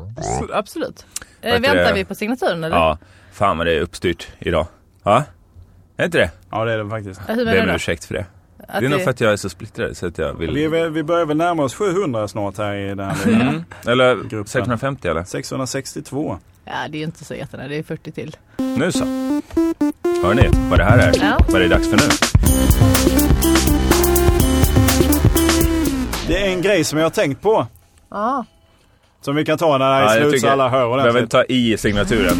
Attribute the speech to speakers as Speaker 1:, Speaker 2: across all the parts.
Speaker 1: Abs- absolut. Eh,
Speaker 2: Vad heter
Speaker 1: väntar
Speaker 2: det?
Speaker 1: vi på signaturen eller?
Speaker 2: Ja, fan vad det är uppstyrt idag. Ja, är inte det?
Speaker 3: Ja det är det faktiskt.
Speaker 1: Eh, Hur
Speaker 2: Be
Speaker 1: menar
Speaker 2: om
Speaker 1: du?
Speaker 2: ursäkt för det.
Speaker 1: Att
Speaker 2: det är nog
Speaker 1: det-
Speaker 2: för att jag är så splittrad så att jag
Speaker 3: Vi, är
Speaker 2: vill...
Speaker 3: väl- vi börjar väl närma oss 700 snart här i den här lilla.
Speaker 2: Mm. Eller
Speaker 3: Gruppen.
Speaker 2: 650 eller?
Speaker 3: 662.
Speaker 1: Ja, det är ju inte så jättenära. Det är 40 till.
Speaker 2: Nu så. Hör ni vad det här är?
Speaker 1: Ja.
Speaker 2: Vad det är dags för nu?
Speaker 3: Det är en grej som jag har tänkt på.
Speaker 1: Ja.
Speaker 3: Som vi kan ta när det här
Speaker 2: Ja,
Speaker 3: är
Speaker 2: jag
Speaker 3: slut så
Speaker 2: tycker-
Speaker 3: alla hör
Speaker 2: Jag vill
Speaker 3: ordentligt.
Speaker 2: ta i signaturen.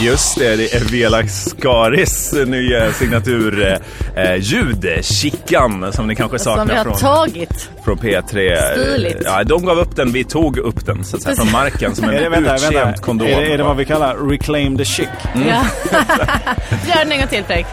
Speaker 2: Just det, det är Vela Skaris nya signaturljud. Eh, ljud, Chickan, som ni kanske saknar
Speaker 1: Som vi har
Speaker 2: från
Speaker 1: tagit.
Speaker 2: från P3.
Speaker 1: Stiligt.
Speaker 2: Ja, de gav upp den, vi tog upp den så att säga, från marken som en
Speaker 3: Är det, vänta,
Speaker 2: uttjänt
Speaker 3: vänta.
Speaker 2: kondom.
Speaker 3: Är det, är det vad vi kallar reclaim the chic?
Speaker 1: Ja. Gör den en gång till Fredrik.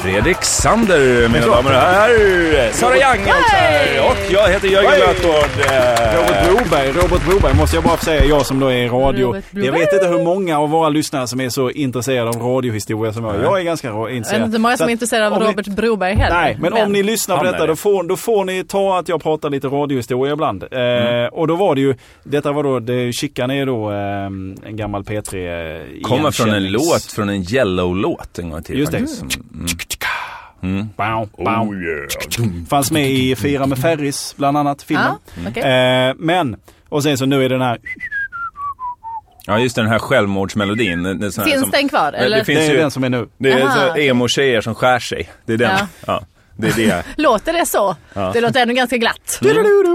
Speaker 2: Fredrik Sander, mina damer och herrar. Sara Young är också här. Och jag heter Jörgen
Speaker 3: Hej!
Speaker 2: Lötgård. Eh,
Speaker 3: Robert Broberg, Robert Broberg måste jag bara få säga, jag som då är i radio.
Speaker 1: Robert Broberg.
Speaker 3: Jag vet inte hur många av våra lyssnare som är så intresserade av radiohistoria som jag. Jag är ganska ro-
Speaker 1: Jag vet
Speaker 3: intresserad.
Speaker 1: inte hur många
Speaker 3: Så
Speaker 1: som är
Speaker 3: att
Speaker 1: intresserade av
Speaker 3: om ni-
Speaker 1: Robert Broberg heller.
Speaker 3: Nej, men om ni lyssnar på
Speaker 2: Han är
Speaker 3: detta
Speaker 2: det.
Speaker 3: då får, då får ni ta att jag pratar lite radiohistoria ibland. Eh,
Speaker 2: Mm.
Speaker 3: Och då var det ju, detta var då, det, Chickan är då eh, en gammal P3 eh,
Speaker 2: Kommer från en
Speaker 3: igenkännings-
Speaker 2: låt, från en Yellow-låt en gång till.
Speaker 3: Just det.
Speaker 2: faktiskt, som- Mm.
Speaker 3: Bow, bow.
Speaker 2: Oh yeah.
Speaker 3: Fanns med i Fira med Ferris bland annat, filmen.
Speaker 1: Ja, okej.
Speaker 3: Eh, men, och sen så nu är det den här
Speaker 2: Ja, just det, den här självmordsmelodin. Det, det är sån här
Speaker 1: Finns
Speaker 2: som,
Speaker 1: den kvar?
Speaker 2: det
Speaker 1: Eller?
Speaker 2: finns-
Speaker 3: det är
Speaker 2: ju-
Speaker 3: den som är nu.
Speaker 2: Det är
Speaker 1: Aha.
Speaker 2: så emo-tjejer som skär sig. Det är den.
Speaker 1: Ja.
Speaker 2: Ja. det är det.
Speaker 1: Låter det så? Det låter ändå ganska glatt.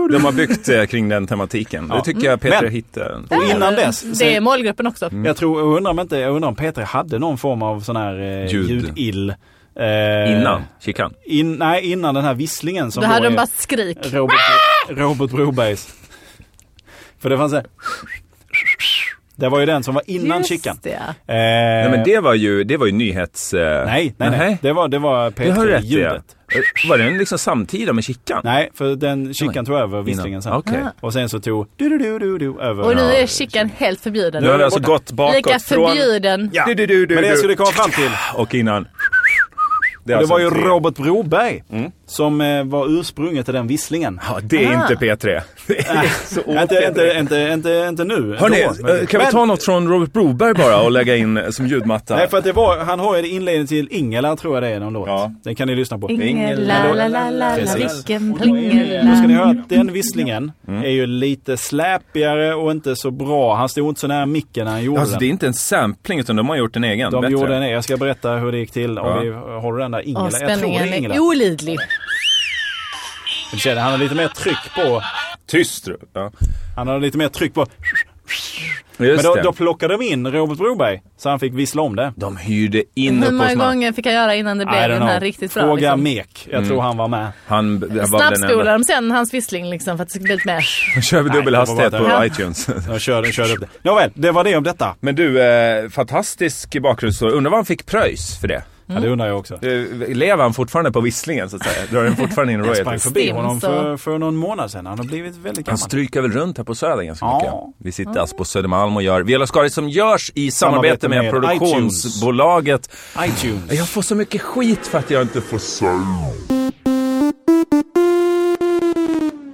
Speaker 2: De har byggt eh, kring den tematiken. Det tycker jag Peter
Speaker 3: Men-
Speaker 2: hittade.
Speaker 3: Och innan dess, Mm. så,
Speaker 1: Det är målgruppen också.
Speaker 3: jag tror, jag undrar om inte, jag undrar om Peter hade någon form av sån här eh,
Speaker 2: Ljud.
Speaker 3: ljudill. Eh,
Speaker 2: Innan Chikan.
Speaker 3: In, nej, innan den här visslingen som
Speaker 1: Då hade
Speaker 3: då
Speaker 1: de
Speaker 3: är
Speaker 1: bara skrik.
Speaker 3: Robert,
Speaker 1: Ah!
Speaker 3: Robert Brobergs. För det fanns en... Det var ju den som var innan
Speaker 1: Just
Speaker 3: Chickan.
Speaker 1: det, ja.
Speaker 3: Eh,
Speaker 2: Nej men det var ju, det var ju nyhets... eh,
Speaker 3: nej, nej, nej.
Speaker 2: Nähä.
Speaker 3: Det var, det var
Speaker 2: Du har rätt i.
Speaker 3: P3-ljudet.
Speaker 2: Eh, Var den liksom samtida med Chikan?
Speaker 3: Nej, för den Chickan tog över visslingen sen.
Speaker 2: Innan. Okej.
Speaker 1: Ah.
Speaker 3: Och sen så tog du du du du du över.
Speaker 1: Och nu är chicken helt förbjuden.
Speaker 2: Nu har det alltså gått bakåt
Speaker 1: Lika förbjuden.
Speaker 2: från... Du, du, du, du,
Speaker 3: Men det jag
Speaker 2: du.
Speaker 3: skulle komma fram till.
Speaker 2: Och innan...
Speaker 3: Det,
Speaker 2: alltså
Speaker 3: var ju
Speaker 2: tre. Mm.
Speaker 3: Robert Broberg som eh, var ursprunget till den visslingen.
Speaker 2: Ja, det är
Speaker 1: Ah.
Speaker 2: inte P3. Det är så
Speaker 3: Inte, inte,
Speaker 2: P3.
Speaker 3: inte, inte, inte nu.
Speaker 2: Hörni,
Speaker 3: ändå, men-
Speaker 2: eh, kan vi ta något från Robert Broberg bara och lägga in eh, som ljudmatta?
Speaker 3: Nej, för att det var, han har ju inledningen till Ingela tror jag det är någon låt.
Speaker 2: Ja.
Speaker 3: Den kan ni lyssna på.
Speaker 1: Ingel, la, la, la, la, la,
Speaker 3: Precis.
Speaker 1: vilken
Speaker 3: Då ska ni
Speaker 1: plingela.
Speaker 3: höra att den visslingen är ju lite släpigare och inte så bra. Han stod inte så nära micken när han gjorde
Speaker 2: Alltså det är
Speaker 3: den.
Speaker 2: inte en sampling utan de har gjort en egen.
Speaker 3: De
Speaker 2: bättre.
Speaker 3: gjorde en, jag ska berätta hur det gick till om
Speaker 2: Ja.
Speaker 3: vi håller den där Ingela.
Speaker 1: Och
Speaker 3: jag tror det
Speaker 1: spänningen
Speaker 3: är Ingela.
Speaker 1: är olidlig.
Speaker 3: Men Känner, han har lite mer tryck på,
Speaker 2: Tyst. Ja.
Speaker 3: han har lite mer tryck på. Men
Speaker 2: Just
Speaker 3: då,
Speaker 2: det.
Speaker 3: då plockade de in Robert Broberg så han fick vissla om det.
Speaker 2: De hyrde in
Speaker 1: Hur
Speaker 2: upp
Speaker 1: många
Speaker 2: hos man.
Speaker 1: gånger fick jag göra innan det blev den här riktigt bra?
Speaker 3: Fråga
Speaker 1: Liksom?
Speaker 3: Mek. Jag
Speaker 2: Mm.
Speaker 3: tror han var med.
Speaker 2: Han b- var den
Speaker 1: Snabbspolar
Speaker 2: enda.
Speaker 1: de sen hans vissling liksom för att det ska bli lite mer...
Speaker 2: Nu kör vi dubbel
Speaker 3: Nej,
Speaker 2: hastighet
Speaker 3: det
Speaker 2: på
Speaker 3: var bara
Speaker 1: där.
Speaker 2: iTunes.
Speaker 3: Jag körde, körde upp det. Nåväl, det var det om detta.
Speaker 2: Men du, eh, fantastisk bakgrundsstory. Undrar vad han fick pröjs för det?
Speaker 3: Ja,
Speaker 1: Mm.
Speaker 3: det undrar jag också.
Speaker 2: Eh, Lever han fortfarande på visslingen så att säga? Drar den fortfarande in
Speaker 3: Jag sprang
Speaker 2: royalties?
Speaker 3: förbi
Speaker 1: Stim,
Speaker 3: honom
Speaker 1: så-
Speaker 3: för, för någon månad sedan. Han har blivit väldigt
Speaker 2: Han
Speaker 3: gammal.
Speaker 2: stryker väl runt här på Söder ganska
Speaker 3: Ja.
Speaker 2: mycket. Vi sitter alltså på Södermalm och gör Viola Skaris som görs i samarbete
Speaker 3: Samarbete
Speaker 2: med,
Speaker 3: med
Speaker 2: produktionsbolaget.
Speaker 3: iTunes.
Speaker 2: Jag får så mycket skit för att jag inte får säga.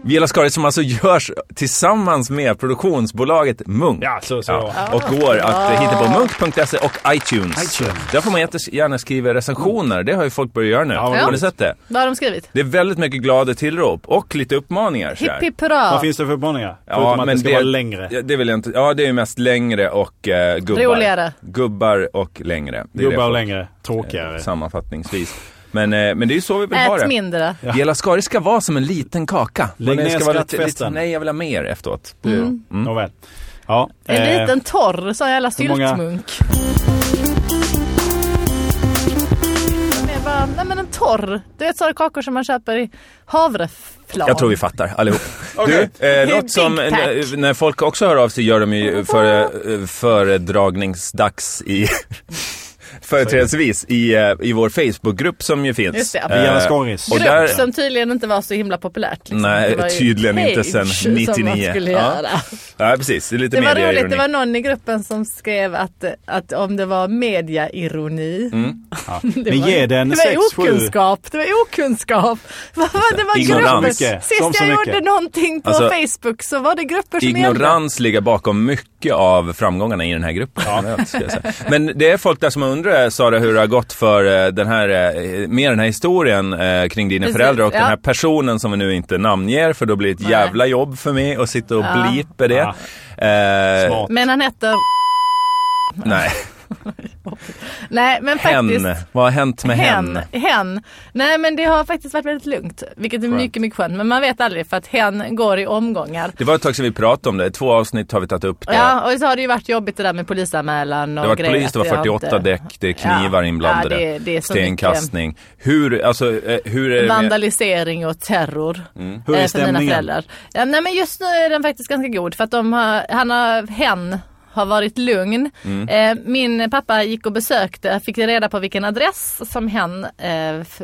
Speaker 2: Viola Skaris som alltså görs tillsammans med produktionsbolaget Munk.
Speaker 3: Ja, så, så.
Speaker 2: Och går att eh, hitta på munk.se och iTunes.
Speaker 3: iTunes.
Speaker 2: Där får man jättegärna skriva recensioner. Det har ju folk börjat göra nu.
Speaker 3: vad
Speaker 2: har ni
Speaker 1: roligt.
Speaker 2: sett det?
Speaker 1: Vad har de skrivit?
Speaker 2: Det är väldigt mycket glada tillrop och lite uppmaningar. så här.
Speaker 1: Hipp hipp hurra!
Speaker 3: Vad finns det för uppmaningar? Förutom att det ska vara längre.
Speaker 2: Ja, det vill jag inte. Ja, det är ju mest längre och eh, gubbar.
Speaker 1: Roligare.
Speaker 2: Gubbar och längre. Det är det
Speaker 3: Gubbar och
Speaker 2: folk-
Speaker 3: längre. Tråkigare.
Speaker 2: Sammanfattningsvis. Men, eh, men det är ju så vi vill ha
Speaker 1: Ät
Speaker 2: det.
Speaker 1: mindre.
Speaker 2: Ja. Viola Skari ska vara som en liten kaka.
Speaker 3: Lägg
Speaker 2: Man
Speaker 3: ner
Speaker 2: ska vara lite, lite,
Speaker 3: skrattfesten.
Speaker 2: Nej, jag vill ha mer efteråt.
Speaker 1: Mm.
Speaker 2: Mm.
Speaker 3: Nåväl. Ja.
Speaker 1: En
Speaker 3: eh,
Speaker 1: liten torr sån jävla
Speaker 3: hur många-
Speaker 1: syltmunk. De är bara, Nej men en torr. Du vet sådana kakor som man köper i havreflarn.
Speaker 2: Jag tror vi fattar allihop.
Speaker 3: Okej.
Speaker 2: Du, eh,
Speaker 1: Big
Speaker 2: något som eh,
Speaker 1: pack.
Speaker 2: när folk också hör av sig gör de ju före, eh, föredragningsdags i företrädesvis i, eh, i vår Facebookgrupp som ju finns.
Speaker 1: Just det,
Speaker 2: Eh,
Speaker 3: Via Skaris.
Speaker 2: och
Speaker 1: Grupp
Speaker 2: där-
Speaker 1: som tydligen inte var så himla populärt. Liksom.
Speaker 2: Nej,
Speaker 1: Det var ju
Speaker 2: tydligen inte
Speaker 1: page
Speaker 2: sen
Speaker 1: som man
Speaker 2: 99.
Speaker 1: skulle
Speaker 2: Ja.
Speaker 1: göra.
Speaker 2: Ja, precis. Det är lite
Speaker 1: Det var
Speaker 2: medieironi.
Speaker 1: roligt, det var någon i gruppen som skrev att, att om det var mediaironi.
Speaker 3: Ja.
Speaker 1: Det
Speaker 3: Men
Speaker 1: var-
Speaker 3: ge den
Speaker 1: Det
Speaker 3: 6-7.
Speaker 1: var okunskap, det var okunskap. Vad var Det var
Speaker 2: Ignorans.
Speaker 1: grupper.
Speaker 3: Mycket.
Speaker 1: Sist
Speaker 3: Som så
Speaker 1: jag
Speaker 3: mycket.
Speaker 1: gjorde någonting på
Speaker 2: Alltså,
Speaker 1: Facebook så var det grupper som gällde.
Speaker 2: Ignorans ligger bakom mycket av framgångarna i den här gruppen. generellt, skulle jag säga. Men det är folk där som undrar, Sara, hur det har gått för eh, den här, eh, med den här historien eh, kring dina
Speaker 1: Precis,
Speaker 2: föräldrar och
Speaker 1: ja.
Speaker 2: den här personen som vi nu inte namnger, för då blir det ett
Speaker 1: Nej.
Speaker 2: jävla jobb för mig att sitta och
Speaker 1: Ja.
Speaker 2: blipa det.
Speaker 3: Ja.
Speaker 2: Eh,
Speaker 3: Smart.
Speaker 1: Men han hette...
Speaker 2: Nej,
Speaker 1: Nej men faktiskt.
Speaker 2: hen. Vad har hänt med hen?
Speaker 1: Hen. hen. Nej men det har faktiskt varit väldigt lugnt. Vilket är
Speaker 3: Skönt.
Speaker 1: mycket, mycket skönt. Men man vet aldrig för att hen går i omgångar.
Speaker 2: Det var ett tag sedan vi pratade om det. Två avsnitt har vi tagit upp det.
Speaker 1: Ja och så har det ju varit jobbigt det där med polisanmälan och
Speaker 2: Det var
Speaker 1: grejer.
Speaker 2: polis, det var
Speaker 1: att jag
Speaker 2: 48
Speaker 1: inte-
Speaker 2: däck, det är knivar
Speaker 1: Ja.
Speaker 2: inblandade,
Speaker 1: Ja, det- det är så
Speaker 2: stenkastning. Hur, alltså, eh, hur är det med- Mm.
Speaker 1: Vandalisering och terror.
Speaker 3: Hur är
Speaker 1: eh, för mina
Speaker 3: stämningen?
Speaker 1: föräldrar. Ja, nej men just nu är den faktiskt ganska god för att de har, han har, hen har varit lugn.
Speaker 2: Mm.
Speaker 1: Eh, min pappa gick och besökte, fick reda på vilken adress som hen eh, f-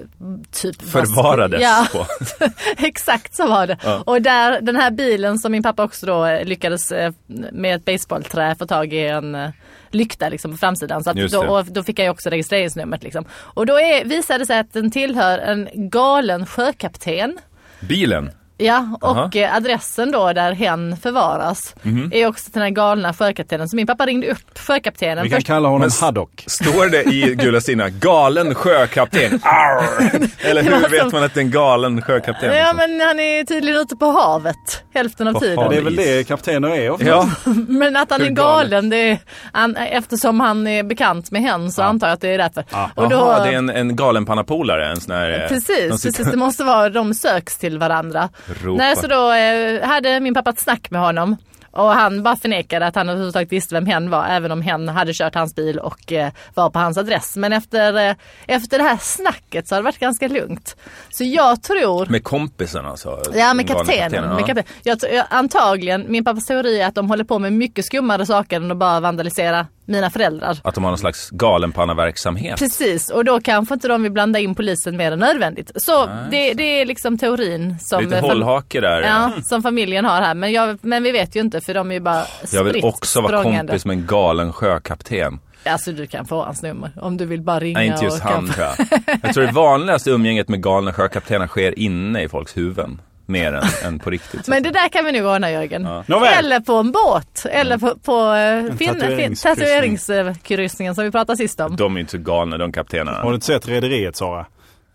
Speaker 1: typ var-
Speaker 2: förvarades
Speaker 1: Ja,
Speaker 2: på?
Speaker 1: exakt så var det.
Speaker 2: Ja.
Speaker 1: Och där, den här bilen som min pappa också då eh, lyckades eh, med ett baseballträ få tag i en eh, lykta liksom på framsidan. Så att
Speaker 2: Just
Speaker 1: då,
Speaker 2: det.
Speaker 1: och då fick jag ju också registreringsnumret liksom. Och då är, visade det sig att den tillhör en galen sjökapten.
Speaker 2: Bilen?
Speaker 1: Ja, och
Speaker 2: Aha. Mhm.
Speaker 1: eh, adressen då där hen förvaras är också den här galna sjökaptenen. Så min pappa ringde upp sjökaptenen.
Speaker 3: Vi kan
Speaker 1: först.
Speaker 3: kalla honom
Speaker 2: Men s-
Speaker 3: Haddock.
Speaker 2: Står det i gula sidorna galen sjökapten? Arr! Eller
Speaker 1: Det
Speaker 2: hur
Speaker 1: var
Speaker 2: vet
Speaker 1: som-
Speaker 2: man att det är en galen sjökapten?
Speaker 1: Ja
Speaker 2: liksom?
Speaker 1: men han är tydligen ute på havet hälften av
Speaker 2: På
Speaker 1: tiden.
Speaker 2: havet.
Speaker 3: Det är väl det kaptener är ofta.
Speaker 2: Ja,
Speaker 1: Men att han
Speaker 2: Hur
Speaker 1: är
Speaker 2: galet?
Speaker 1: galen, det är, han, eftersom han är bekant med hen så antar jag att det är därför. Och då,
Speaker 2: Aha, det är en, en galenpannapolare, en sån här... eh,
Speaker 1: Precis,
Speaker 2: de sitter-
Speaker 1: precis, det måste vara de söks till varandra.
Speaker 2: Ropa.
Speaker 1: Nej, så då eh, hade min pappa ett snack med honom och han bara förnekade att han överhuvudtaget visste vem hen var även om hen hade kört hans bil och eh, var på hans adress. Men efter, eh, efter det här snacket så har det varit ganska lugnt. Så jag tror
Speaker 2: Med kompisen alltså?
Speaker 1: Ja med
Speaker 2: den galna
Speaker 1: kaptenen. Med kapten. jag, tror- jag, antagligen, min pappas teori är att de håller på med mycket skummare saker än att bara vandalisera mina föräldrar.
Speaker 2: Att de har någon slags galenpannaverksamhet?
Speaker 1: Precis, och då kanske inte de vill blanda in polisen mer än nödvändigt. Så det, det är liksom teorin som,
Speaker 2: Lite
Speaker 1: fam-
Speaker 2: hållhake där.
Speaker 1: ja, som familjen har här. Men, jag, men vi vet ju inte för de är ju bara
Speaker 2: Jag vill
Speaker 1: spritt
Speaker 2: också vara
Speaker 1: språngande.
Speaker 2: kompis med en galen sjökapten.
Speaker 1: Alltså du kan få hans nummer om du vill bara ringa.
Speaker 2: Nej, inte just
Speaker 1: och kan-
Speaker 2: han tror jag. Jag tror det vanligaste umgänget med galna sjökaptener sker inne i folks huvuden. Mer än, än på riktigt.
Speaker 1: Men det där kan vi nog ordna Jörgen.
Speaker 3: Nåväl.
Speaker 1: Eller på en båt. Eller på, på eh, fin- fin-
Speaker 3: tatueringskryssning.
Speaker 1: tatueringskryssningen som vi pratade sist om.
Speaker 2: De är inte så galna de kaptenerna.
Speaker 3: Har du inte sett Rederiet Sara?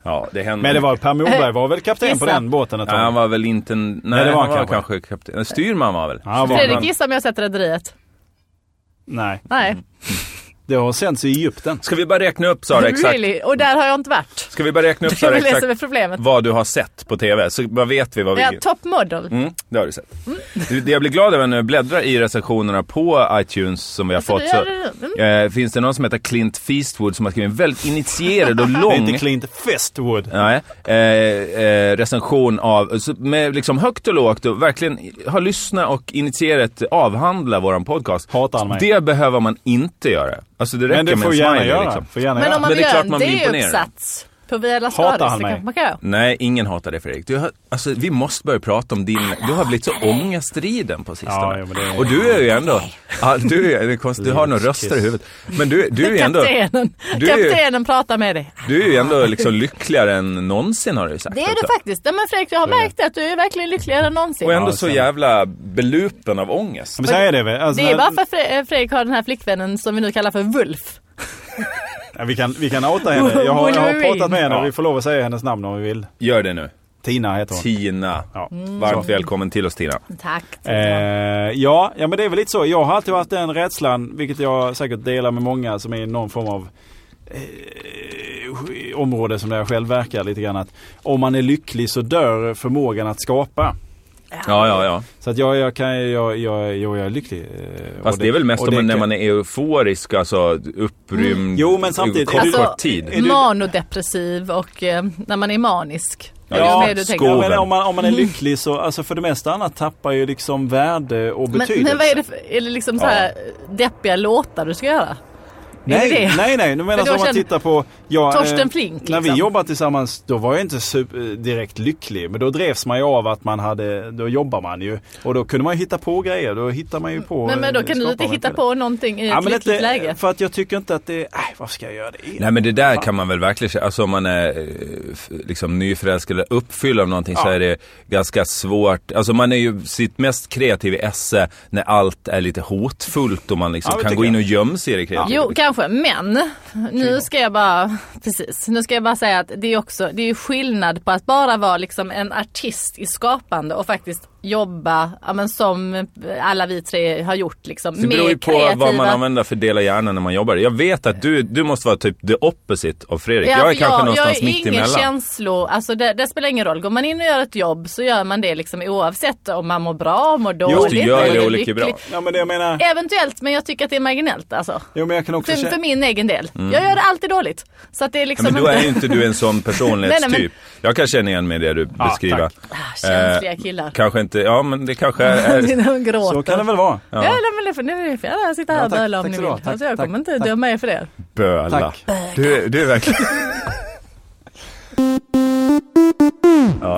Speaker 2: Ja, det händer.
Speaker 3: Men det var Per Morberg var väl kapten på
Speaker 1: Gissa.
Speaker 3: den båten ett
Speaker 2: Nej, han
Speaker 3: tag?
Speaker 2: var väl inte... en- Nej,
Speaker 3: det var
Speaker 2: han var
Speaker 3: kanske.
Speaker 2: kanske kapten. eh, Styrman var väl?
Speaker 3: Ja, han var-
Speaker 1: Fredrik, gissa om jag har sett Rederiet?
Speaker 3: Nej,
Speaker 1: Nej.
Speaker 3: det har sänts i Egypten.
Speaker 2: Ska vi bara räkna upp Sara exakt?
Speaker 1: Really? Och där har jag inte varit.
Speaker 2: Ska vi bara räkna upp
Speaker 1: Det är
Speaker 2: Sara
Speaker 1: väl det som är
Speaker 2: exakt
Speaker 1: problemet.
Speaker 2: vad du har sett på TV? Så bara vet vi vad vi...
Speaker 1: Ja, top model.
Speaker 2: Mm, det har du sett. Du, Det jag blir glad över när jag bläddrar i recensionerna på iTunes som vi har
Speaker 1: Alltså,
Speaker 2: fått
Speaker 1: det
Speaker 2: så
Speaker 1: är-
Speaker 2: eh, finns det någon som heter Clint Feastwood som har skrivit en väldigt initierad och
Speaker 3: Det är
Speaker 2: lång
Speaker 3: inte Clint Festwood.
Speaker 2: Nej, eh, eh, recension av, så med liksom högt och lågt och verkligen ha lyssnat och initierat eh, avhandla våran podcast.
Speaker 3: Hatar han mig.
Speaker 2: Det behöver man inte göra. Alltså det räcker
Speaker 3: Men det
Speaker 2: med
Speaker 3: får
Speaker 2: en
Speaker 3: gärna
Speaker 2: smiley
Speaker 3: göra.
Speaker 2: liksom.
Speaker 3: Får gärna
Speaker 1: Men
Speaker 3: göra.
Speaker 1: om man
Speaker 2: Men
Speaker 1: vill
Speaker 2: det är
Speaker 1: göra
Speaker 2: klart
Speaker 1: en
Speaker 2: man blir imponerad.
Speaker 1: D-uppsats på Vela
Speaker 3: Hatar
Speaker 1: Stadis,
Speaker 3: han
Speaker 1: det
Speaker 3: mig?
Speaker 1: kanske man kan göra.
Speaker 2: Nej, ingen hatar det Fredrik. Du har, alltså, vi måste börja prata om din, du har blivit så ångestriden på
Speaker 3: Ja,
Speaker 2: sistone.
Speaker 3: jo, men det är-
Speaker 2: Och du är ju ändå, ja, du, är, det är konstigt, du har några
Speaker 3: Livets
Speaker 2: röster i
Speaker 3: kiss.
Speaker 2: huvudet. Men du, du är ju ändå,
Speaker 1: Kaptenen,
Speaker 2: Du är ju-
Speaker 1: kaptenen pratar med dig.
Speaker 2: du är ju ändå liksom lyckligare än någonsin har du ju sagt.
Speaker 1: Det är
Speaker 2: också.
Speaker 1: du faktiskt. Ja, men Fredrik, jag har märkt att du är verkligen lyckligare än någonsin.
Speaker 2: Och ändå
Speaker 3: Ja,
Speaker 2: så
Speaker 3: sen-
Speaker 2: jävla belupen av ångest.
Speaker 3: Men så är det väl. Alltså,
Speaker 1: Det är
Speaker 3: när-
Speaker 1: bara för Fre- eh, Fredrik har den här flickvännen som vi nu kallar för Wulf.
Speaker 3: Ja, vi, kan, vi kan outa henne. Jag har, jag har
Speaker 1: Wolverine.
Speaker 3: pratat med henne
Speaker 2: Ja.
Speaker 3: och vi får lov att säga hennes namn om vi vill.
Speaker 2: Gör det nu.
Speaker 3: Tina Mm. heter hon.
Speaker 2: Tina.
Speaker 3: Ja.
Speaker 2: Varmt välkommen till oss Tina.
Speaker 1: Tack.
Speaker 3: Eh, ja, ja, men det är väl lite så. Jag har alltid varit den rädslan, vilket jag säkert delar med många som är i någon form av eh, område som där jag själv verkar lite grann. Att om man är lycklig så dör förmågan att skapa.
Speaker 2: Ja, ja, ja.
Speaker 3: Så att jag, jag, kan, jag, jag, jo, jag är lycklig. eh, och
Speaker 2: Fast det är väl mest
Speaker 3: och
Speaker 2: om
Speaker 3: det- Mm.
Speaker 2: när man är euforisk, alltså upprymd.
Speaker 3: Jo, men samtidigt-
Speaker 2: Kort,
Speaker 3: Är du-
Speaker 2: kort tid.
Speaker 3: är du-
Speaker 1: Alltså, Manodepressiv och eh, när man är manisk. Det är
Speaker 2: Ja,
Speaker 1: det du tänker.
Speaker 2: skål.
Speaker 3: Ja, men om, man, om man är lycklig så, alltså för det mesta annat tappar ju liksom värde och
Speaker 1: Men,
Speaker 3: betydelse.
Speaker 1: men vad är det för, är det liksom så här deppiga låtar du ska göra? är det
Speaker 3: Nej,
Speaker 1: det?
Speaker 3: nej, nej. Du menar
Speaker 1: Men
Speaker 3: att om
Speaker 1: då
Speaker 3: man
Speaker 1: känner-
Speaker 3: tittar på... Ja,
Speaker 1: Torsten
Speaker 3: eh,
Speaker 1: Flink,
Speaker 3: När vi
Speaker 1: liksom.
Speaker 3: jobbade tillsammans, då var jag inte super, eh, direkt lycklig. Men då drevs man ju av att man hade... Då jobbar man ju. Och då kunde man ju hitta på grejer. Då hittar man ju på...
Speaker 1: Men, men då
Speaker 3: eh,
Speaker 1: kan du
Speaker 3: skapar
Speaker 1: inte
Speaker 3: man
Speaker 1: hitta
Speaker 3: det.
Speaker 1: på någonting i ett
Speaker 3: Ja, men
Speaker 1: lyckligt
Speaker 3: inte-
Speaker 1: läge.
Speaker 3: För att jag tycker inte att det... Nej, varför ska jag göra det?
Speaker 2: Nej men det där kan man väl verkligen känna, alltså om man är eh, f- liksom nyförälskad eller uppfylld av någonting så
Speaker 3: Ja.
Speaker 2: är det ganska svårt. Alltså man är ju sitt mest kreativ i esse när allt är lite hotfullt och man liksom
Speaker 3: Ja, det
Speaker 2: kan
Speaker 3: tycker
Speaker 2: gå in
Speaker 3: jag.
Speaker 2: och gömma sig i det kreativa.
Speaker 1: Jo, kanske, men nu ska jag bara, precis, nu ska jag bara säga att det är också, det är ju skillnad på att bara vara liksom en artist i skapande och faktiskt jobba, ja men som alla vi tre har gjort liksom,
Speaker 2: Det beror ju på vad man använder för del av hjärnan när man jobbar. Jag vet att du, du måste vara typ the opposite av Fredrik. jag är
Speaker 1: för
Speaker 2: kanske någonstans
Speaker 1: jag är
Speaker 2: mitt
Speaker 1: ingen
Speaker 2: emellan.
Speaker 1: känslo, alltså det, det spelar ingen roll. Går man in och gör ett jobb så gör man det liksom oavsett om man mår bra, mår dåligt,
Speaker 2: du gör
Speaker 1: eller
Speaker 2: det
Speaker 1: är
Speaker 2: olika bra.
Speaker 1: lycklig.
Speaker 3: Ja, men det jag menar...
Speaker 1: Eventuellt, men jag tycker att det är marginellt alltså.
Speaker 3: Jo, men jag kan också
Speaker 1: För,
Speaker 3: känna...
Speaker 1: för min egen del. Jag gör det alltid dåligt. Så att det är
Speaker 2: Mm. Ja,
Speaker 1: liksom
Speaker 2: men då är
Speaker 1: inte-
Speaker 2: ju inte du en sån personlighetstyp.
Speaker 1: Nej, nej,
Speaker 2: Jag kan känna igen mig i det du
Speaker 3: Ja,
Speaker 2: beskriver.
Speaker 3: tack.
Speaker 1: Ah, Känsliga killar.
Speaker 2: Kanske inte, ja men det kanske är...
Speaker 1: Det är när hon gråter.
Speaker 3: Eh, Så kan det väl vara.
Speaker 1: Ja, nej, men det får ni får gärna sitta här
Speaker 3: Ja,
Speaker 1: och
Speaker 3: tack.
Speaker 1: böla om
Speaker 3: Tack
Speaker 1: ni
Speaker 3: så
Speaker 1: vill.
Speaker 3: bra. Tack,
Speaker 1: alltså, jag
Speaker 3: tack,
Speaker 1: kommer inte
Speaker 3: tack.
Speaker 1: döma er för det.
Speaker 2: Böla.
Speaker 3: Tack.
Speaker 2: Du, du är verkligen...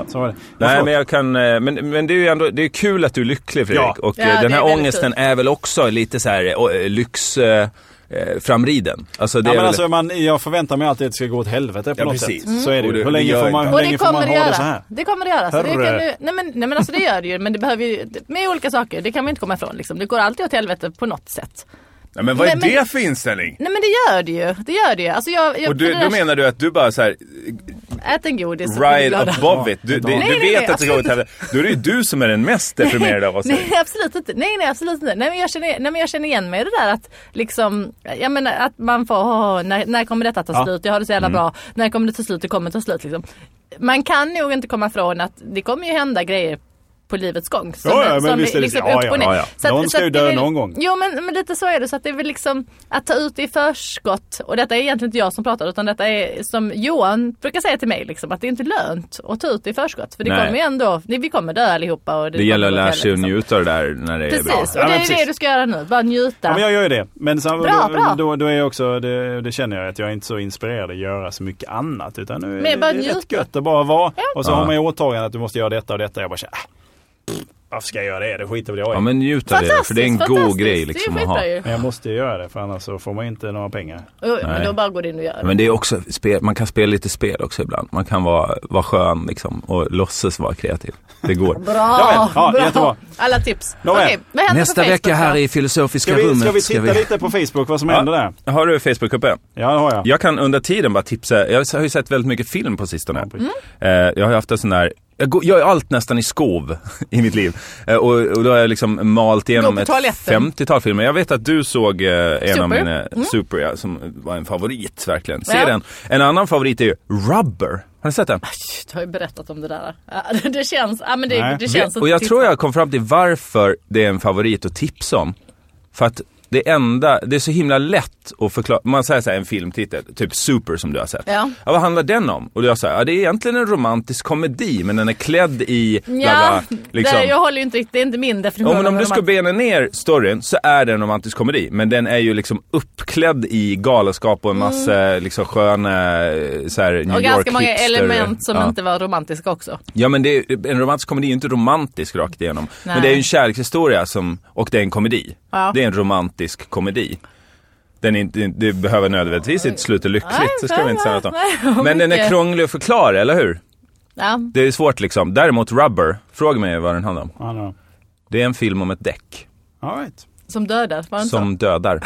Speaker 3: Så var det.
Speaker 2: Nej men jag kan, eh, men, men det är ju ändå, det är kul att du är lycklig Fredrik.
Speaker 3: Ja.
Speaker 2: Och eh,
Speaker 1: Ja, det
Speaker 2: den här
Speaker 1: är väldigt
Speaker 2: ångesten är väl också lite så här eh, o- eh, lyx eh, eh, framriden. Alltså det
Speaker 3: Ja,
Speaker 2: är
Speaker 3: men
Speaker 2: väl,
Speaker 3: alltså, man, jag förväntar mig alltid att det ska gå åt helvete på
Speaker 2: Ja,
Speaker 3: något
Speaker 2: precis.
Speaker 3: sätt. Så är det
Speaker 2: Och det-
Speaker 3: ju. Hur
Speaker 2: det
Speaker 3: länge
Speaker 2: gör
Speaker 3: får
Speaker 2: det.
Speaker 3: man, hur
Speaker 1: Och
Speaker 3: länge
Speaker 1: det
Speaker 3: får man
Speaker 1: kommer det
Speaker 3: ha det så
Speaker 1: göra.
Speaker 3: här?
Speaker 1: Det kommer det göra. Så det kan
Speaker 3: Hörru.
Speaker 1: du, nej, men, nej men alltså det gör det ju. Men det behöver ju, med olika saker, det kan man inte komma ifrån liksom. Det går alltid åt helvete på något sätt.
Speaker 2: ja, men vad är
Speaker 1: Nej, men-
Speaker 2: det för inställning?
Speaker 1: Nej men det gör det ju. Det gör det ju. Alltså jag, jag
Speaker 2: Och du,
Speaker 1: för det
Speaker 2: då
Speaker 1: där-
Speaker 2: menar du att du bara så här,
Speaker 1: ät en godis så blir du
Speaker 2: ride
Speaker 1: glad.
Speaker 2: above it. Du, det, du
Speaker 3: Nej,
Speaker 1: nej,
Speaker 2: vet
Speaker 1: nej,
Speaker 2: att det går åt
Speaker 1: absolut.
Speaker 2: helvete. Då är det ju du som är den mest deprimerade av oss.
Speaker 1: Nej absolut inte. Nej nej absolut inte. Nej men jag känner, nej, men jag känner igen mig i det där att liksom, jag menar att man får, åh, när, när kommer detta ta
Speaker 3: Ja. Mm.
Speaker 1: slut? Jag har det så jävla bra. När kommer det ta slut? Det kommer ta slut liksom. Man kan nog inte komma ifrån att det kommer ju hända grejer på livets gång. Som,
Speaker 3: Ja, ja, men
Speaker 1: som
Speaker 3: visst är det-
Speaker 1: liksom
Speaker 3: ja,
Speaker 1: upp
Speaker 3: ja,
Speaker 1: och ner.
Speaker 2: ja, ja.
Speaker 1: Så att-
Speaker 3: Någon
Speaker 1: så
Speaker 3: ska
Speaker 1: att
Speaker 3: ju
Speaker 1: det
Speaker 3: dö
Speaker 1: är väl-
Speaker 3: någon gång.
Speaker 1: Jo men, men lite så är det. Så att det är väl liksom att ta ut det i förskott. Och detta är egentligen inte jag som pratar utan detta är som Johan brukar säga till mig liksom, att det är inte lönt att ta ut det i förskott. För det
Speaker 2: Nej.
Speaker 1: kommer ju ändå, vi kommer dö allihopa. Och
Speaker 2: Det gäller att
Speaker 1: kommer
Speaker 2: lära sig att
Speaker 1: liksom.
Speaker 2: njuta av det där när det är
Speaker 1: Precis,
Speaker 2: bra.
Speaker 1: och det
Speaker 3: Ja, men
Speaker 1: är det
Speaker 3: precis.
Speaker 1: du ska göra nu. Bara njuta.
Speaker 3: Ja, men jag gör ju det. Men så,
Speaker 1: Bra,
Speaker 3: då,
Speaker 1: bra.
Speaker 3: Då, då är jag också, det, det känner jag att jag är inte så inspirerad att göra så mycket annat. Utan nu,
Speaker 1: Men
Speaker 3: det,
Speaker 1: bara
Speaker 3: det är rätt
Speaker 1: njuta.
Speaker 3: gött att bara vara. Och så
Speaker 2: Ja.
Speaker 3: har man ju åtagande att du måste göra detta och detta. Jag bara känner, äh, varför ska jag göra det? Det skiter väl jag i.
Speaker 2: Ja men njut av det,
Speaker 1: Fantastiskt,
Speaker 2: för det är en god
Speaker 1: fantastiskt.
Speaker 2: grej liksom
Speaker 1: det är
Speaker 2: att ha.
Speaker 1: skitbra ju.
Speaker 3: Men jag måste ju göra det för annars så får man ju inte några pengar.
Speaker 1: Jo,
Speaker 2: Nej.
Speaker 1: Men då bara går du in och gör
Speaker 2: Ja,
Speaker 1: det.
Speaker 2: Men det är också, spel, man kan spela lite spel också ibland. Man kan vara, vara skön liksom och låtsas vara kreativ. Det går.
Speaker 1: Bra!
Speaker 3: Nåväl, ja,
Speaker 1: bra.
Speaker 3: jättebra.
Speaker 1: Alla tips.
Speaker 3: Nåväl.
Speaker 1: Okej, vad händer på
Speaker 2: Nästa
Speaker 1: Facebook
Speaker 2: vecka här
Speaker 1: då?
Speaker 2: i Filosofiska
Speaker 3: Ska vi,
Speaker 2: rummet
Speaker 3: ska vi titta lite på Facebook vad som händer där?
Speaker 2: Har du Facebook uppe?
Speaker 3: Ja, det har jag.
Speaker 2: Jag kan under tiden bara tipsa. Jag har ju sett väldigt mycket film på sistone.
Speaker 1: Mm.
Speaker 2: Eh, Jag har ju haft en sån där jag, går, jag gör allt nästan i skov i mitt liv. Eh, och, och då har jag liksom malt igenom
Speaker 1: på
Speaker 2: ett
Speaker 1: toaletten.
Speaker 2: 50-tal filmer. Jag vet att du såg eh, en av
Speaker 1: Super. Mm.
Speaker 2: mina Super, ja, som var en favorit verkligen. Se
Speaker 1: Ja.
Speaker 2: den. En annan favorit är ju Rubber. Har du sett den?
Speaker 1: Shh, Du har ju berättat om det där. Ja, det- Det känns, ja, men det,
Speaker 3: Nej.
Speaker 1: det känns
Speaker 2: Och
Speaker 1: inte
Speaker 2: jag
Speaker 1: tips.
Speaker 2: tror jag kom fram till varför det är en favorit att tipsa om. För att det enda, det är så himla lätt att förklara. Man säger så här, en filmtitel, typ Super som du har sett.
Speaker 1: Ja.
Speaker 2: vad handlar den om? Och jag säger, ja det är egentligen en romantisk komedi men den är klädd i bla
Speaker 1: Ja,
Speaker 2: bla. liksom.
Speaker 1: det, jag håller ju inte riktigt, det är inte min definition.
Speaker 2: Ja, men
Speaker 1: av
Speaker 2: om du ska
Speaker 1: romantik.
Speaker 2: bena ner storyn så är det en romantisk komedi. Men den är ju liksom uppklädd i galenskap och en massa liksom sköna eh, så här, New York
Speaker 1: Mm. Och ganska många
Speaker 2: hipster-
Speaker 1: element som
Speaker 2: ja.
Speaker 1: inte var romantiska också.
Speaker 2: Ja men det är, en romantisk komedi är ju inte romantisk rakt igenom. Men
Speaker 1: Nej.
Speaker 2: det är ju en kärlekshistoria som, och det är en komedi.
Speaker 1: Ja.
Speaker 2: Det är en romantisk komedi. Den är inte, det behöver nödvändigtvis inte sluta lyckligt,
Speaker 1: Nej,
Speaker 2: så ska vi inte säga något om.
Speaker 1: nej, nej, vad
Speaker 2: Men den är
Speaker 1: mycket.
Speaker 2: krånglig att förklara, eller hur?
Speaker 1: Ja.
Speaker 2: Det är svårt liksom. Däremot Rubber, fråga mig vad den handlar om.
Speaker 3: Ja, det har jag.
Speaker 2: Det är en film om ett däck
Speaker 3: All right.
Speaker 1: Som dödar, var det inte så?
Speaker 2: som dödar.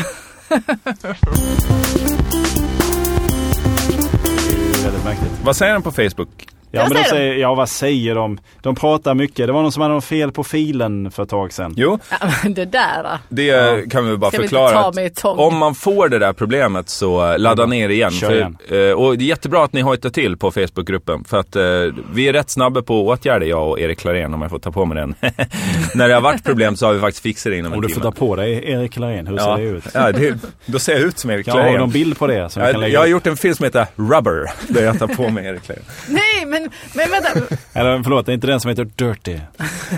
Speaker 3: Det är väldigt märkligt.
Speaker 2: vad säger den på Facebook?
Speaker 3: Ja,
Speaker 1: Vad
Speaker 3: men de
Speaker 1: säger de?
Speaker 3: säger, ja, vad säger de? De pratar mycket. Det var någon som hade något fel på filen för ett tag sedan.
Speaker 2: Jo,
Speaker 1: Ja, men det där. va?
Speaker 2: det kan vi bara
Speaker 1: Ska vi inte
Speaker 2: förklara.
Speaker 1: ta
Speaker 2: att
Speaker 1: mig i tång?
Speaker 2: om man får det där problemet så eh, ladda ner igen.
Speaker 3: Mm. Kör
Speaker 2: För,
Speaker 3: igen.
Speaker 2: eh, och det är jättebra att ni hojtar till på Facebookgruppen. För att eh, vi är rätt snabba på att åtgärda, jag och Erik Klarén om jag får ta på mig den. När det har varit problem så har vi faktiskt fixat det inom en
Speaker 3: Om du får
Speaker 2: timme.
Speaker 3: ta på dig Erik Larén, hur
Speaker 2: ja.
Speaker 3: ser det ut?
Speaker 2: Ja, det, då ser jag ut som Erik
Speaker 3: Jag har
Speaker 2: Klarén.
Speaker 3: någon bild på det som jag kan
Speaker 2: Jag,
Speaker 3: lägga
Speaker 2: jag har
Speaker 3: upp.
Speaker 2: gjort en film som heter Rubber, där jag tar på mig Erik Klarén.
Speaker 1: Nej, men, men vänta.
Speaker 3: Eller förlåt, det är inte den som heter Dirty.
Speaker 2: Mm.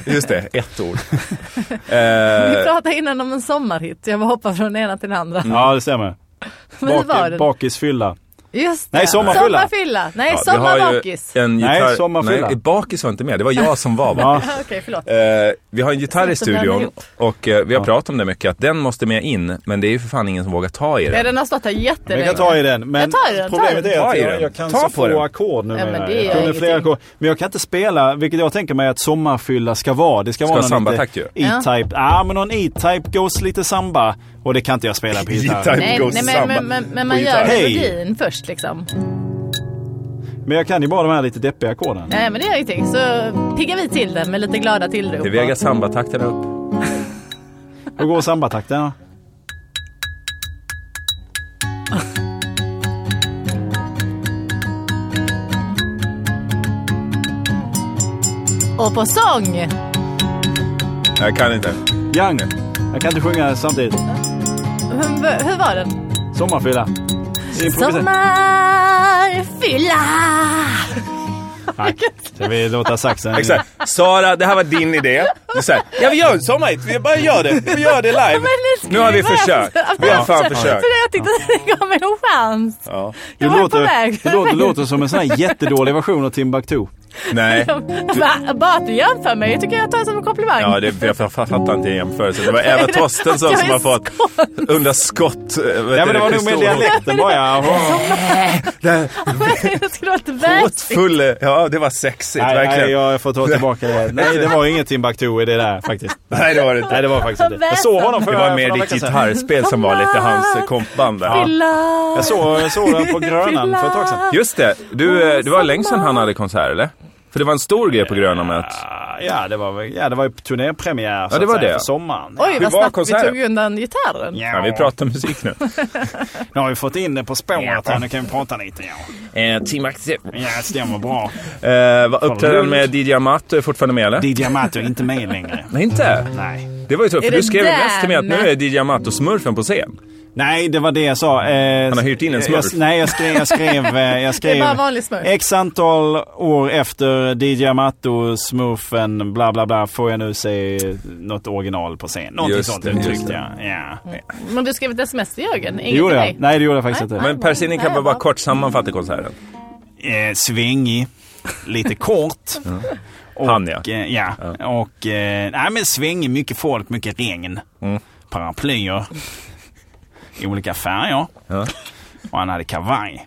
Speaker 2: Just det, ett ord.
Speaker 1: Vi
Speaker 2: Eh,
Speaker 3: Mm.
Speaker 1: pratade innan om en sommarhit. Jag bara hoppar från den ena till den andra.
Speaker 3: Ja, det stämmer.
Speaker 1: Men det var den.
Speaker 3: bakisfylla.
Speaker 1: Just det.
Speaker 3: Nej, sommarfylla.
Speaker 1: Sommarfylla. Nej,
Speaker 2: Ja, vi har ju
Speaker 1: sommarbakis.
Speaker 2: En
Speaker 3: Nej,
Speaker 2: gitarr...
Speaker 3: sommarfylla.
Speaker 2: Nej, bakis var inte med. Det var jag som var bakis.
Speaker 3: Ja.
Speaker 1: Okej, förlåt.
Speaker 2: Eh, vi har en gitarr i
Speaker 1: Sätt dem där
Speaker 2: studion
Speaker 1: ihop.
Speaker 2: och eh, vi har
Speaker 3: Ja.
Speaker 2: pratat om det mycket, att den måste med in, men det är ju för fan ingen som vågar ta i
Speaker 1: Ja,
Speaker 2: den.
Speaker 1: den har stått här
Speaker 3: Vi
Speaker 1: jättelänge.
Speaker 3: kan ta i den. Men
Speaker 1: Jag tar i den, tar
Speaker 3: problemet
Speaker 1: i
Speaker 2: den.
Speaker 3: är att
Speaker 2: Ta i
Speaker 3: jag,
Speaker 2: den.
Speaker 3: jag kan
Speaker 2: Ta
Speaker 3: så
Speaker 2: på
Speaker 3: få
Speaker 2: den.
Speaker 3: ackord nu.
Speaker 1: Ja, men det gör
Speaker 3: jag kunde flera
Speaker 1: ingenting.
Speaker 3: ackord. Men jag kan inte spela, vilket jag tänker mig att sommarfylla ska vara. Det ska,
Speaker 2: Ska
Speaker 3: vara någon
Speaker 2: samba-attack
Speaker 3: lite
Speaker 2: ju.
Speaker 3: E-Type. Ja, men någon E-Type goes lite samba. Och det kan inte jag spela på gitarr.
Speaker 1: Nej,
Speaker 2: Goes
Speaker 1: nej men,
Speaker 2: samba
Speaker 1: men, men, men
Speaker 2: på
Speaker 1: man gör
Speaker 2: gitarr.
Speaker 3: Hej!
Speaker 1: melodin först liksom.
Speaker 3: Men jag kan ju bara de här lite deppiga ackorden.
Speaker 1: Nej men det gör ingenting. Så piggar vi till den med lite glada tillrop.
Speaker 2: Det väger sambatakten upp.
Speaker 3: Hur går sambatakten då?
Speaker 1: Och på sång!
Speaker 2: Jag kan inte.
Speaker 3: Young. Jag kan inte sjunga samtidigt.
Speaker 1: Hur, hur var den?
Speaker 3: Sommarfylla. Improvisa.
Speaker 1: Sommarfylla!
Speaker 3: Nej, Ska vi låta saxen...
Speaker 2: Exakt. Sara, det här var din idé. Du säger, ja vi gör en sommarhit, vi bara gör det. Vi gör det live.
Speaker 1: Men
Speaker 2: Nu har vi
Speaker 1: skulle ju börja-
Speaker 2: försökt.
Speaker 1: Ja,
Speaker 2: Vi har fan försökt.
Speaker 1: För alltså. jag tyckte att det gav mig en chans.
Speaker 2: Ja.
Speaker 1: Jag var på väg.
Speaker 3: Du låter, du låter som en sån här jättedålig version av Timbuktu.
Speaker 2: Nej.
Speaker 1: Va? Bara att du jämför mig tycker jag tar som en komplimang.
Speaker 2: Ja, det, jag fattar inte jämförelsen. Det var Eva Torstensson
Speaker 1: Jag
Speaker 2: som
Speaker 1: är
Speaker 2: har fått undra skott. eh,
Speaker 3: Ja, men det var nog med dialekten bara. Ja.
Speaker 1: det skulle vara ett vägsnitt.
Speaker 2: Full, eh, ja det var sexigt
Speaker 3: Nej,
Speaker 2: verkligen.
Speaker 3: nej, jag får ta tillbaka det. Nej, det var inget Timbuktu i det där faktiskt.
Speaker 2: Nej, det var det
Speaker 3: Nej,
Speaker 2: inte.
Speaker 3: det var faktiskt inte. Jag såg honom för,
Speaker 2: Det var
Speaker 3: för
Speaker 2: mer
Speaker 3: några
Speaker 2: ditt
Speaker 3: veckor sedan.
Speaker 2: gitarrspel som var lite hans kompband där.
Speaker 1: Fylla.
Speaker 3: Jag såg, jag såg honom på Grönan för ett tag sedan.
Speaker 2: Just det, du, eh, det var länge sedan han hade konsert eller? För det var en stor grej på Gröna med att...
Speaker 3: Ah, Ja, det var, väl- ja, det var ju turnépremiär så
Speaker 2: Ja, det
Speaker 3: att
Speaker 2: var
Speaker 3: säga,
Speaker 2: det.
Speaker 3: för sommaren.
Speaker 1: Oj,
Speaker 2: Hur
Speaker 1: vad
Speaker 2: var
Speaker 1: snabbt
Speaker 2: konserten?
Speaker 1: vi tog undan gitarren.
Speaker 2: Ja, vi pratar musik nu.
Speaker 3: Nu har vi fått in det på spåret här. Nu kan vi prata lite. Ja,
Speaker 2: Eh, Tim Axel.
Speaker 3: ja det stämmer bra.
Speaker 2: Eh, vad uppträdde han med DJ Amato? Är fortfarande med eller?
Speaker 3: DJ Amato är inte med längre.
Speaker 2: Nej, inte?
Speaker 3: Nej.
Speaker 2: Det var ju tråkigt,
Speaker 1: Är
Speaker 2: för du
Speaker 1: det
Speaker 2: skrev
Speaker 1: där
Speaker 2: en mest till mig att nu
Speaker 1: med-
Speaker 2: är DJ Amato-smurfen på scen.
Speaker 3: Nej, det var det jag sa. Eh,
Speaker 2: Han har hyrt in en smurf.
Speaker 3: Jag, nej, jag skrev... Jag skrev, eh, jag skrev
Speaker 1: Det är bara en vanlig smurf.
Speaker 3: X antal år efter DJ Amato, smurfen, bla bla bla, får jag nu se något original på scen. Någonting
Speaker 2: Just
Speaker 3: sånt
Speaker 2: det, just
Speaker 3: uttryckte
Speaker 2: det.
Speaker 3: jag. Ja.
Speaker 1: Men du skrev ett sms till Jörgen?
Speaker 3: Det
Speaker 1: Mm. Inget
Speaker 3: gjorde
Speaker 1: till
Speaker 3: jag.
Speaker 1: mig?
Speaker 3: Nej, det gjorde jag faktiskt inte.
Speaker 2: Men Persini kan väl bara kort sammanfatta konserten?
Speaker 3: Eh, svängig, lite kort. Och,
Speaker 2: Han, ja.
Speaker 3: Eh, ja. Och, eh, nej men svängig, mycket folk, mycket regn.
Speaker 2: Mm.
Speaker 3: Paraplyer. I olika färger.
Speaker 2: Ja.
Speaker 3: Och han hade kavaj.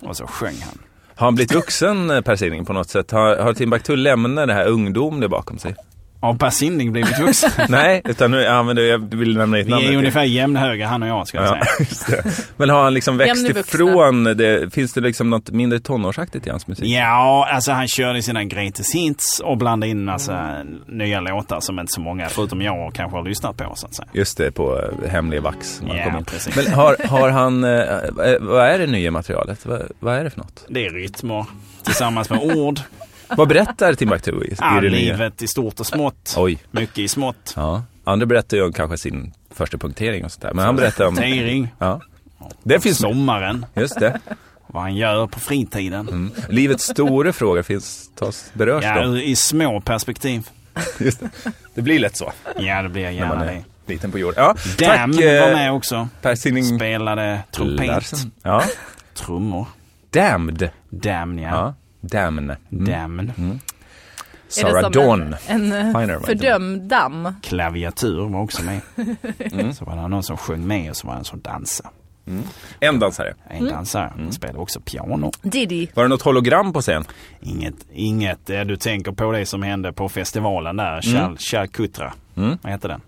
Speaker 3: Och så sjöng han.
Speaker 2: Har han blivit vuxen, eh, Per Sinding, på något sätt? Har, har Timbuktu lämnat det här ungdomliga bakom sig?
Speaker 3: Har Per Sinding blivit vuxen?
Speaker 2: Nej, utan nu, ja, men det, jag vill nämna ditt namn.
Speaker 3: Vi är ungefär jämnhöga han och jag ska jag
Speaker 2: Ja,
Speaker 3: säga.
Speaker 2: just det. Men har han liksom växt
Speaker 1: Jämn i vuxna.
Speaker 2: ifrån det? Finns det liksom något mindre tonårsaktigt i hans musik?
Speaker 3: Ja, alltså han körde sina greatest hits och blandade in alltså, nya låtar som inte så många, förutom jag, kanske har lyssnat på. Så att säga.
Speaker 2: Just det, på eh, hemlig vax. som han
Speaker 3: Ja,
Speaker 2: kom in.
Speaker 3: precis.
Speaker 2: Men har, har han, eh, eh, vad är det nya materialet? Vad, vad är det för något?
Speaker 3: Det är rytmer tillsammans med ord.
Speaker 2: Vad berättar Timbuktu i, i
Speaker 3: Ah,
Speaker 2: det nya?
Speaker 3: livet i stort och smått.
Speaker 2: Oj.
Speaker 3: Mycket i smått.
Speaker 2: Ja. Andra berättar ju om kanske sin första punktering och sånt där. Men han berättar om...
Speaker 3: Tering.
Speaker 2: Ja. Det finns med.
Speaker 3: Sommaren.
Speaker 2: Just det.
Speaker 3: Vad han gör på fritiden.
Speaker 2: Mm. Livets stora frågor finns, tas, berörs
Speaker 3: Ja,
Speaker 2: då.
Speaker 3: i små perspektiv.
Speaker 2: Just det. det blir lätt så.
Speaker 3: Ja, det blir jag
Speaker 2: När
Speaker 3: gärna
Speaker 2: man
Speaker 3: det.
Speaker 2: är liten på jorden. Ja,
Speaker 3: Damn
Speaker 2: tack
Speaker 3: var
Speaker 2: eh,
Speaker 3: med också.
Speaker 2: Per Sinding
Speaker 3: Spelade trumpet,
Speaker 2: Larsen. Ja.
Speaker 3: trummor.
Speaker 2: Damned. Mm.
Speaker 3: Damn ja.
Speaker 2: Ja. Damn.
Speaker 3: Damn.
Speaker 1: Är det
Speaker 2: Sarah
Speaker 1: som
Speaker 2: Dawn.
Speaker 1: En, en
Speaker 2: Finer,
Speaker 1: eh,
Speaker 2: vad
Speaker 1: fördömd damm.
Speaker 3: Klaviatur var också med.
Speaker 2: Mm.
Speaker 3: Så var det någon som sjöng med och så var det en som dansade.
Speaker 2: En dansare.
Speaker 3: En dansare
Speaker 2: Mm.
Speaker 3: Han spelade också piano.
Speaker 1: Diddy.
Speaker 2: Var det något hologram på scen?
Speaker 3: Inget, inget eh, du tänker på det som hände på festivalen där,
Speaker 2: Mm.
Speaker 3: Chal- Chalcutra. Vad heter den?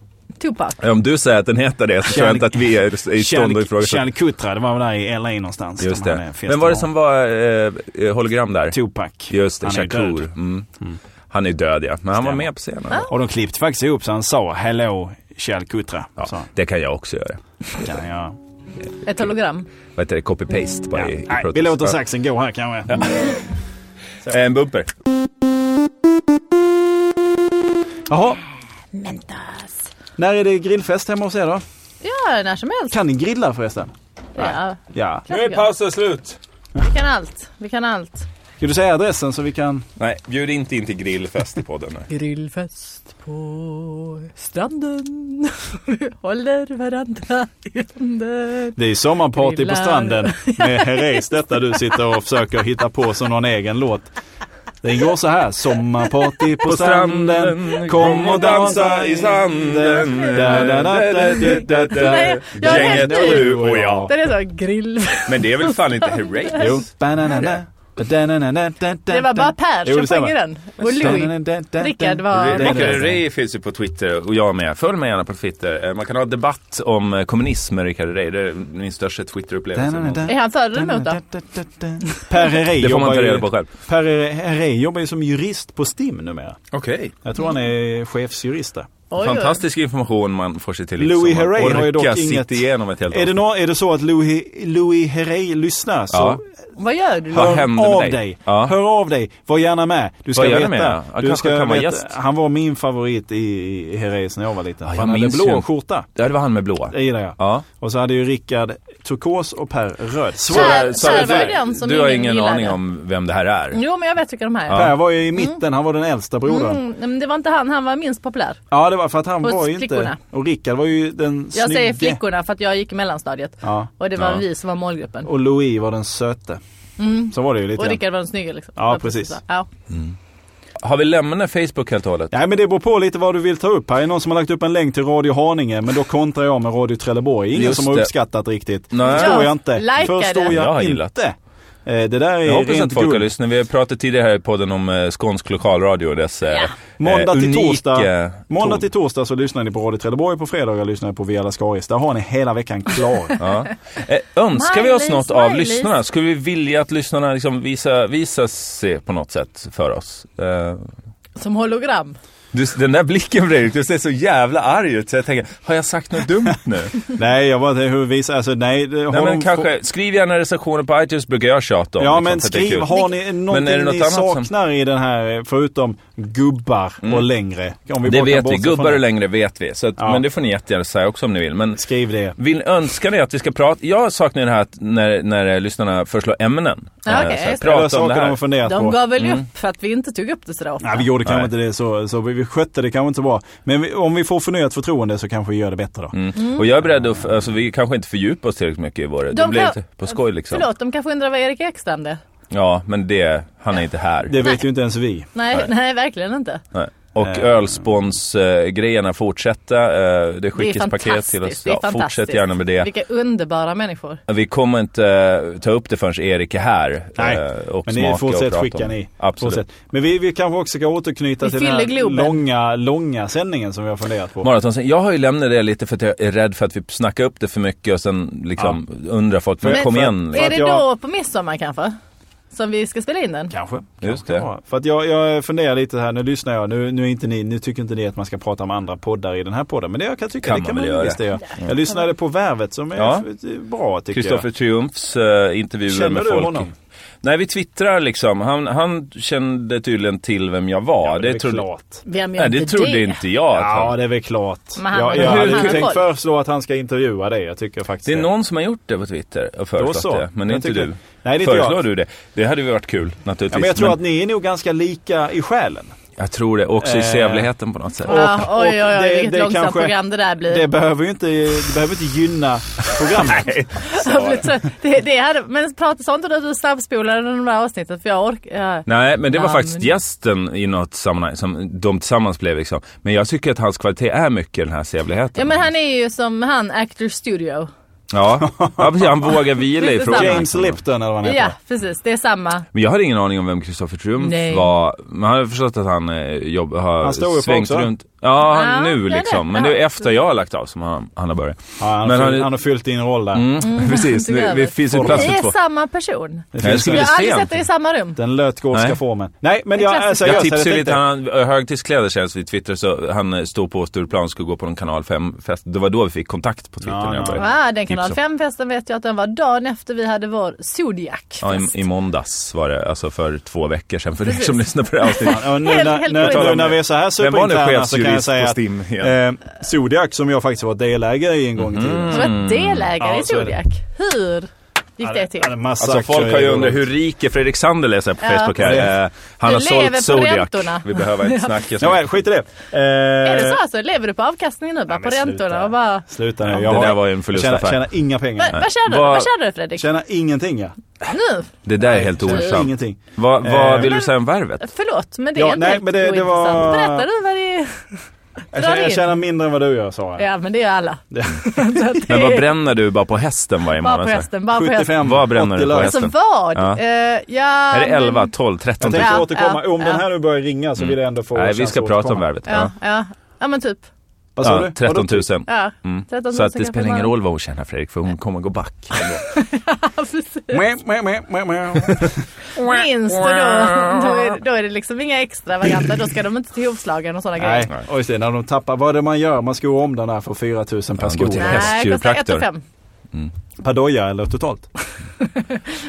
Speaker 1: Tupac.
Speaker 2: Om du säger att den heter det så tror jag inte att vi är i stånd att
Speaker 3: Chal-
Speaker 2: ifrågasätta.
Speaker 3: Chalcutra, det var väl där i LA någonstans.
Speaker 2: Just
Speaker 3: de hade
Speaker 2: det. Men
Speaker 3: festival.
Speaker 2: var det som var eh, eh, hologram där?
Speaker 3: Tupac.
Speaker 2: Just det,
Speaker 3: Han är ju
Speaker 2: Shakur.
Speaker 3: död.
Speaker 2: Mm. Han är död ja, men han var
Speaker 3: Stämmer.
Speaker 2: med på scenen.
Speaker 3: Och de klippte faktiskt ihop så han sa Hello Chalcutra. Så
Speaker 2: Ja, det kan jag också göra.
Speaker 3: kan jag göra.
Speaker 1: Ett hologram.
Speaker 2: Vad heter det? Copy-paste bara
Speaker 3: Ja.
Speaker 2: i, i
Speaker 3: Nej, vi
Speaker 2: protest.
Speaker 3: låter
Speaker 2: Ja.
Speaker 3: saxen gå här kanske.
Speaker 2: En bumper.
Speaker 3: Jaha,
Speaker 1: Mentas.
Speaker 3: när är det grillfest hemma hos er då?
Speaker 1: Ja, när som helst.
Speaker 3: Kan ni grilla förresten?
Speaker 1: Ja,
Speaker 3: Ja.
Speaker 2: Nu är pausen slut.
Speaker 1: vi kan allt. Vi kan allt.
Speaker 3: Ska du säga adressen så vi kan...
Speaker 2: Nej, bjud inte in till grillfest i podden. nej.
Speaker 1: Grillfest på stranden. Vi håller varandra i handen.
Speaker 3: Det är sommarparty på
Speaker 1: Grillar.
Speaker 3: stranden med Herreys detta du sitter och försöker hitta på som någon egen låt. Den går så här. Sommarparty på stranden. Kom och dansa i sanden. Da, da, da, da, da, da, da.
Speaker 1: Nej, jag är helt
Speaker 2: Gänget
Speaker 1: ny.
Speaker 2: du och jag.
Speaker 1: Den är så grillfest.
Speaker 2: Men det är väl fan inte Herreys?
Speaker 3: Jo. Ba-na-na-na, ba-da-na-na-na, da, da,
Speaker 1: Det var bara
Speaker 3: da.
Speaker 1: Per
Speaker 3: Jo,
Speaker 1: som
Speaker 3: det stämmer.
Speaker 1: sjöng den. Och Louis. Rickard var- Nej,
Speaker 2: Re- Rickard Herrey finns ju på Twitter och jag med. Följ mig gärna på Twitter. Eh, Man kan ha debatt om eh, kommunism med Rickard Herrey. Det är min största Twitterupplevelse.
Speaker 1: Är han för eller emot då?
Speaker 3: Per Herrey
Speaker 2: Det får man
Speaker 3: jobbar
Speaker 2: ta
Speaker 3: ju-
Speaker 2: reda på själv.
Speaker 3: Per Herrey jobbar ju som jurist på STIM numera.
Speaker 2: Okej.
Speaker 3: Jag tror han är chefsjurist där.
Speaker 1: Oj, oj.
Speaker 2: Fantastisk information man får sig till livs.
Speaker 3: Louis
Speaker 2: om man
Speaker 3: Herrey har ju dock
Speaker 2: orkar sitta
Speaker 3: inget-
Speaker 2: igenom ett helt
Speaker 3: Är det,
Speaker 2: avsnitt.
Speaker 3: nå- är det så att Louis, Louis Herrey lyssnar så
Speaker 2: Ja.
Speaker 1: Vad gör du?
Speaker 2: Vad
Speaker 3: hör
Speaker 2: händer med
Speaker 3: av
Speaker 2: dig?
Speaker 3: dig.
Speaker 2: Ja.
Speaker 3: Hör av dig. Var gärna med. Du ska
Speaker 2: Var gärna
Speaker 3: veta.
Speaker 2: med, ja.
Speaker 3: Du
Speaker 2: Kanske
Speaker 3: ska
Speaker 2: kan vara
Speaker 3: veta.
Speaker 2: gäst.
Speaker 3: Han var min favorit i, i Herreys när jag var liten.
Speaker 2: Ja, jag
Speaker 3: han hade
Speaker 2: minns
Speaker 3: blå
Speaker 2: ju.
Speaker 3: skjorta.
Speaker 2: Ja, det var han med blåa.
Speaker 3: Det gillar jag.
Speaker 2: Ja.
Speaker 3: Och så hade ju Rickard turkos och Per röd. Så
Speaker 1: Per-
Speaker 2: Sara- Sara,
Speaker 1: Per var
Speaker 2: du-
Speaker 1: den som
Speaker 2: du har
Speaker 1: ingen
Speaker 2: ingen
Speaker 1: gillade.
Speaker 2: aning om vem det här är.
Speaker 1: Jo men jag vet vilka de här är.
Speaker 3: Per var ju i mitten. Han var den äldsta brodern.
Speaker 1: Mm, men det var inte han, han var minst populär.
Speaker 3: Ja, det var för att han
Speaker 1: Hos
Speaker 3: var ju
Speaker 1: flickorna.
Speaker 3: inte... Och Rickard var ju den
Speaker 1: Jag
Speaker 3: snygge.
Speaker 1: säger flickorna för att jag gick i mellanstadiet.
Speaker 3: Ja.
Speaker 1: Och det var
Speaker 2: Ja.
Speaker 1: vi som var målgruppen.
Speaker 3: Och Louis var den söte. Så var det ju lite
Speaker 1: Mm. Och
Speaker 3: grann.
Speaker 1: Rickard var den snygga liksom.
Speaker 3: Ja,
Speaker 1: Det var
Speaker 3: precis.
Speaker 1: så. Ja.
Speaker 2: Har vi lämnat Facebook helt och hållet?
Speaker 3: Nej men det beror på lite vad du vill ta upp. Här är någon som har lagt upp en länk till Radio Haninge men då kontrar jag med Radio Trelleborg. Ingen
Speaker 2: Just
Speaker 3: som har
Speaker 2: det.
Speaker 3: uppskattat riktigt.
Speaker 2: Nej.
Speaker 3: Förstår
Speaker 1: Ja,
Speaker 3: jag inte.
Speaker 1: likea
Speaker 3: Förstår
Speaker 1: det.
Speaker 2: Jag har
Speaker 3: jag
Speaker 2: gillat.
Speaker 3: inte. Eh, Det där är
Speaker 2: Jag hoppas
Speaker 3: rent
Speaker 2: att folk har
Speaker 3: guld.
Speaker 2: lyssnat. Vi har pratat tidigare här i podden om eh, skånsk lokalradio och dess eh, eh,
Speaker 3: Måndag till,
Speaker 2: unika
Speaker 3: torsdag, måndag
Speaker 2: ton.
Speaker 3: till torsdag så lyssnar ni på Radio Trelleborg. På fredagar lyssnar ni på Via Lascaris. Där har ni hela veckan klar.
Speaker 2: Ja. Eh, önskar vi oss
Speaker 1: Smiley,
Speaker 2: något av
Speaker 1: smiley.
Speaker 2: lyssnarna? Skulle vi vilja att lyssnarna liksom visar, visar sig på något sätt för oss? Eh,
Speaker 1: Som hologram.
Speaker 2: du, den där blicken Fredrik, du ser så jävla arg ut så jag tänker, har jag sagt något dumt nu?
Speaker 3: nej, jag bara hur visar, alltså nej. det- har
Speaker 2: Nej, men
Speaker 3: de-
Speaker 2: kanske, skriv gärna recensioner på iTunes brukar jag tjata om.
Speaker 3: Ja
Speaker 2: liksom,
Speaker 3: men
Speaker 2: för att det är
Speaker 3: skriv,
Speaker 2: kul.
Speaker 3: har ni någonting
Speaker 2: är det något
Speaker 3: ni
Speaker 2: annat som- Mm.
Speaker 3: saknar i den här eh, förutom gubbar och längre? Om vi bara
Speaker 2: Det
Speaker 3: kan
Speaker 2: vet vi,
Speaker 3: bortse från
Speaker 2: gubbar
Speaker 3: det.
Speaker 2: och längre vet vi. Så att,
Speaker 3: Ja.
Speaker 2: Men det får ni jättegärna säga också om ni vill. Men
Speaker 3: Skriv det.
Speaker 2: Vill önska dig att vi ska prata... Jag saknar det här att när, när eh, lyssnarna föreslår ämnen.
Speaker 1: Ja,
Speaker 2: Eh,
Speaker 1: okej,
Speaker 2: så här,
Speaker 1: just det.
Speaker 3: Eller
Speaker 2: prata om det
Speaker 3: saker de har
Speaker 2: här.
Speaker 3: funderat på.
Speaker 1: De gav väl upp för att vi inte tog upp det sådär ofta.
Speaker 3: Mm. Nej, vi gjorde
Speaker 2: Nej.
Speaker 3: kanske inte det så, så vi, vi skötte det kanske inte så bra. Men vi, om vi får förnyat förtroende så kanske vi gör det bättre då.
Speaker 2: Mm. Och jag är beredd att... f- Alltså, vi kanske inte fördjupar oss tillräckligt mycket i vår... det
Speaker 1: kan-
Speaker 2: blir lite på skoj liksom.
Speaker 1: Förlåt, de kanske undrar vad Erik Ekstrand är?
Speaker 2: Ja, men det... Han är inte här.
Speaker 3: Det vet ju inte ens vi.
Speaker 1: Nej,
Speaker 2: Nej.
Speaker 1: nej. verkligen inte.
Speaker 2: Nej. Och
Speaker 3: Eh.
Speaker 2: ölspons-grejerna fortsätta. eh, Det
Speaker 1: Det är
Speaker 2: skickas paket
Speaker 1: fantastiskt.
Speaker 2: till oss.
Speaker 1: det är
Speaker 2: Ja,
Speaker 1: fantastiskt.
Speaker 2: fortsätt gärna med det.
Speaker 1: Vilka underbara människor.
Speaker 2: Vi kommer inte eh, ta upp det förrän Erik är här.
Speaker 3: Nej,
Speaker 2: eh, Och
Speaker 3: Men
Speaker 2: smaka
Speaker 3: ni
Speaker 2: och
Speaker 3: fortsätt
Speaker 2: prata om
Speaker 3: skicka
Speaker 2: det.
Speaker 3: ni.
Speaker 2: Absolut.
Speaker 3: Fortsätt. Men vi, vi kanske också ska återknyta
Speaker 1: Vi
Speaker 3: till den
Speaker 1: fyller
Speaker 3: här
Speaker 1: Globen.
Speaker 3: långa, långa sändningen som vi har funderat på.
Speaker 2: Maraton, sen- jag har ju lämnat det lite för att jag är rädd för att vi snackar upp det för mycket och sen liksom undrar folk, men
Speaker 1: Men-
Speaker 2: kom
Speaker 1: för-
Speaker 2: igen.
Speaker 1: är
Speaker 3: att
Speaker 1: det
Speaker 3: jag-
Speaker 1: då på midsommar kanske? Som vi ska spela in den?
Speaker 3: Kanske.
Speaker 2: Just
Speaker 3: kanske
Speaker 2: det.
Speaker 3: kan vara. För att jag, jag funderar lite här, nu lyssnar jag, nu, nu, är inte ni, nu tycker inte ni att man ska prata om andra poddar i den här podden. Men det jag kan tycka,
Speaker 2: Kan
Speaker 3: det
Speaker 2: man
Speaker 3: kan
Speaker 2: väl
Speaker 3: man,
Speaker 2: göra.
Speaker 3: visst det. Jag lyssnade på Värvet som är
Speaker 2: Ja.
Speaker 3: f- bra tycker
Speaker 2: Kristoffer Triumfs eh, intervjuer
Speaker 3: Känner
Speaker 2: med
Speaker 3: du
Speaker 2: folk.
Speaker 3: honom?
Speaker 2: Nej, vi twittrar liksom. Han, han kände tydligen till vem jag var.
Speaker 3: jag. Ja,
Speaker 2: det,
Speaker 3: är väl
Speaker 2: trodde,
Speaker 3: klart.
Speaker 1: Vem gör
Speaker 2: nej, det
Speaker 1: inte
Speaker 2: trodde
Speaker 1: det?
Speaker 2: inte jag. Att
Speaker 3: Ja,
Speaker 2: han,
Speaker 3: det är väl klart.
Speaker 1: Men han-
Speaker 3: jag
Speaker 1: men
Speaker 3: jag
Speaker 1: han-
Speaker 3: hade
Speaker 1: han-
Speaker 3: ju tänkt
Speaker 1: folk.
Speaker 3: föreslå att han ska intervjua dig. Jag tycker faktiskt
Speaker 2: det är någon som har gjort det på Twitter och
Speaker 3: Då
Speaker 2: föreslagit
Speaker 3: så.
Speaker 2: det. Men det är
Speaker 3: Jag
Speaker 2: inte
Speaker 3: tycker-
Speaker 2: du.
Speaker 3: Nej, det är inte
Speaker 2: Föreslår
Speaker 3: jag.
Speaker 2: du det? Det hade ju varit kul naturligtvis.
Speaker 3: Ja, men jag tror att ni är nog ganska lika i själen.
Speaker 2: jag tror det. Också i
Speaker 3: Eh,
Speaker 2: sävligheten på något sätt.
Speaker 1: Ja, oj, oj, oj,
Speaker 3: och det-
Speaker 1: vilket
Speaker 3: det
Speaker 1: långsamt
Speaker 3: kanske-
Speaker 1: program det där blir.
Speaker 3: Det behöver ju inte, det behöver inte gynna programmet.
Speaker 1: Jag blir trött. det, det hade, men prata sånt inte att du snabbspolade de där avsnitten för jag orkar. Ja.
Speaker 2: Nej, men det var
Speaker 1: Ja,
Speaker 2: faktiskt
Speaker 1: men-
Speaker 2: gästen i något sammanhang som de tillsammans blev liksom. Men jag tycker att hans kvalitet är mycket den här sävligheten.
Speaker 1: ja men han är ju som han, Actor Studio.
Speaker 2: Ja, ja precis. Han vågar vila i
Speaker 1: Lite
Speaker 2: frågan.
Speaker 1: samma.
Speaker 3: James Lipton eller vad han heter.
Speaker 1: Ja precis, det är samma.
Speaker 2: Men jag hade ingen aning om vem Kristoffer Triumf
Speaker 1: Nej.
Speaker 2: var. Man hade förstått att han eh, jobb, har
Speaker 3: Han står upp
Speaker 2: svängt
Speaker 3: också.
Speaker 2: runt. Ja, han,
Speaker 1: Ja,
Speaker 2: nu
Speaker 1: det är
Speaker 2: liksom.
Speaker 1: det.
Speaker 2: Men det är
Speaker 1: Ja.
Speaker 2: efter jag har lagt av som han, han har börjat.
Speaker 3: Ja, han,
Speaker 2: Men
Speaker 3: har
Speaker 2: han-
Speaker 3: fyllt, han har fyllt din roll där.
Speaker 2: Mm, precis,
Speaker 1: tog
Speaker 2: det,
Speaker 1: över.
Speaker 2: det finns ju
Speaker 3: Formen.
Speaker 2: plats
Speaker 1: Det
Speaker 2: för
Speaker 1: är
Speaker 2: två.
Speaker 1: samma person.
Speaker 3: Det
Speaker 2: Nej, jag
Speaker 3: finns
Speaker 2: skulle-
Speaker 1: Jag
Speaker 2: är
Speaker 3: väl
Speaker 1: har aldrig
Speaker 2: sent.
Speaker 1: sett dig i samma rum.
Speaker 3: den lötgåtska
Speaker 2: Nej.
Speaker 3: formen. Nej, men jag,
Speaker 1: Det är
Speaker 3: alltså,
Speaker 2: Jag
Speaker 3: jag,
Speaker 2: tipsade ju
Speaker 3: jag
Speaker 2: lite,
Speaker 3: tänkte-
Speaker 2: han eh, högtidskläder känns vid Twitter, så han eh, stod på Stureplan och skulle gå på någon kanal 5-fest. Det var då vi fick kontakt på Twitter
Speaker 3: Ja,
Speaker 2: när jag
Speaker 3: ja.
Speaker 2: började.
Speaker 1: Ah, den kanal
Speaker 2: tipsa.
Speaker 1: 5-festen vet jag att den var dagen efter vi hade vår zodiac
Speaker 2: Ja, i, i måndags var det, alltså för två veckor sedan för dig som lyssnar på det här avsnittet.
Speaker 3: Ja, nu,
Speaker 1: Helt-
Speaker 3: när,
Speaker 1: helt
Speaker 3: när,
Speaker 1: korrekt.
Speaker 3: nu när vi är så här
Speaker 2: Vem var nu
Speaker 3: superinterna
Speaker 1: alltså,
Speaker 3: så kan jag
Speaker 2: chefsjurist
Speaker 3: säga
Speaker 2: på
Speaker 3: att
Speaker 2: STIM igen?
Speaker 3: eh, Zodiac som jag faktiskt var delägare i en gång i tiden.
Speaker 1: Du var delägare
Speaker 3: Ja,
Speaker 1: i
Speaker 3: så är det.
Speaker 1: Zodiac. Hur? gick Mm. det till?
Speaker 2: Alltså folk har ju undrat hur rik är Fredrik Sander läser på
Speaker 1: Ja.
Speaker 2: Facebook här.
Speaker 3: Ja.
Speaker 2: Eh, han
Speaker 1: Du
Speaker 2: har
Speaker 1: lever
Speaker 2: sålt
Speaker 1: på
Speaker 2: Zodiac.
Speaker 1: räntorna.
Speaker 2: Vi behöver inte snacka så
Speaker 3: Nåväl, skit i det.
Speaker 1: Är
Speaker 3: Eh,
Speaker 1: det så alltså? Lever du på avkastningen nu bara?
Speaker 3: men
Speaker 1: på räntorna
Speaker 3: sluta.
Speaker 1: och bara...
Speaker 3: Sluta nu.
Speaker 2: Det
Speaker 3: har-
Speaker 2: där var ju en förlustaffär.
Speaker 3: Tjänar, tjänar inga pengar.
Speaker 1: Va, vad tjänar du?
Speaker 2: Vad-
Speaker 1: Vad tjänar du Fredrik?
Speaker 3: Tjänar ingenting ja.
Speaker 1: Nu?
Speaker 2: Det där är helt
Speaker 3: Tjänar
Speaker 2: ointressant.
Speaker 3: Ingenting.
Speaker 2: Vad, vad
Speaker 3: Eh,
Speaker 2: vill du säga om värvet?
Speaker 1: Förlåt, men det
Speaker 3: Ja,
Speaker 1: är inte
Speaker 3: nej,
Speaker 1: helt
Speaker 3: men det- det var-
Speaker 1: ointressant. Berätta du vad det är.
Speaker 3: Jag
Speaker 1: Dra
Speaker 3: tjänar, jag
Speaker 1: in.
Speaker 3: tjänar mindre än vad du gör Sara.
Speaker 1: Ja, men det gör alla.
Speaker 3: Det-
Speaker 1: Så att det
Speaker 2: Men
Speaker 1: är
Speaker 2: vad bränner du bara på hästen varje
Speaker 1: Bara
Speaker 2: månad?
Speaker 1: på
Speaker 2: så här?
Speaker 1: hästen, bara på hästen.
Speaker 3: 75,
Speaker 2: Vad bränner du
Speaker 3: 80
Speaker 2: på
Speaker 3: lös.
Speaker 2: häst?
Speaker 1: Alltså vad?
Speaker 2: Ja.
Speaker 1: Eh, ja,
Speaker 2: Är det 11,
Speaker 1: Men,
Speaker 2: 12, 13
Speaker 3: Jag
Speaker 2: 000?
Speaker 3: tänkte
Speaker 1: Ja,
Speaker 3: återkomma.
Speaker 1: ja,
Speaker 3: om den
Speaker 1: ja.
Speaker 3: här nu börjar ringa så vill jag ändå få
Speaker 2: Mm. Nej, vi
Speaker 3: chans
Speaker 2: ska
Speaker 3: att
Speaker 2: prata om
Speaker 3: återkomma.
Speaker 2: värvet.
Speaker 1: ja,
Speaker 2: Ja.
Speaker 1: ja. ja, men typ.
Speaker 3: Vad sa
Speaker 2: Ja,
Speaker 3: du?
Speaker 2: 13
Speaker 3: Vadå?
Speaker 2: 000.
Speaker 1: Ja. 13
Speaker 2: Så
Speaker 1: 000
Speaker 2: att det spelar
Speaker 1: kanske
Speaker 2: ingen
Speaker 1: man-
Speaker 2: roll vad hon tjänar Fredrik, för hon kommer gå back.
Speaker 1: Ja, precis.
Speaker 3: Mäh, mäh, mäh, mäh, mäh.
Speaker 1: Minst och då, då, är, då är det liksom inga extravaganta. Då ska de inte till hovslagaren och sådana
Speaker 3: Nej,
Speaker 1: grejer.
Speaker 3: och just det, när de tappar, vad är det man gör? Man skor om den här för 4 000 per
Speaker 2: Ja,
Speaker 3: sko.
Speaker 2: gå
Speaker 1: Nej, kostar
Speaker 2: till
Speaker 1: ett
Speaker 2: hästdjurtraktor.
Speaker 1: och fem.
Speaker 3: Per doja eller totalt?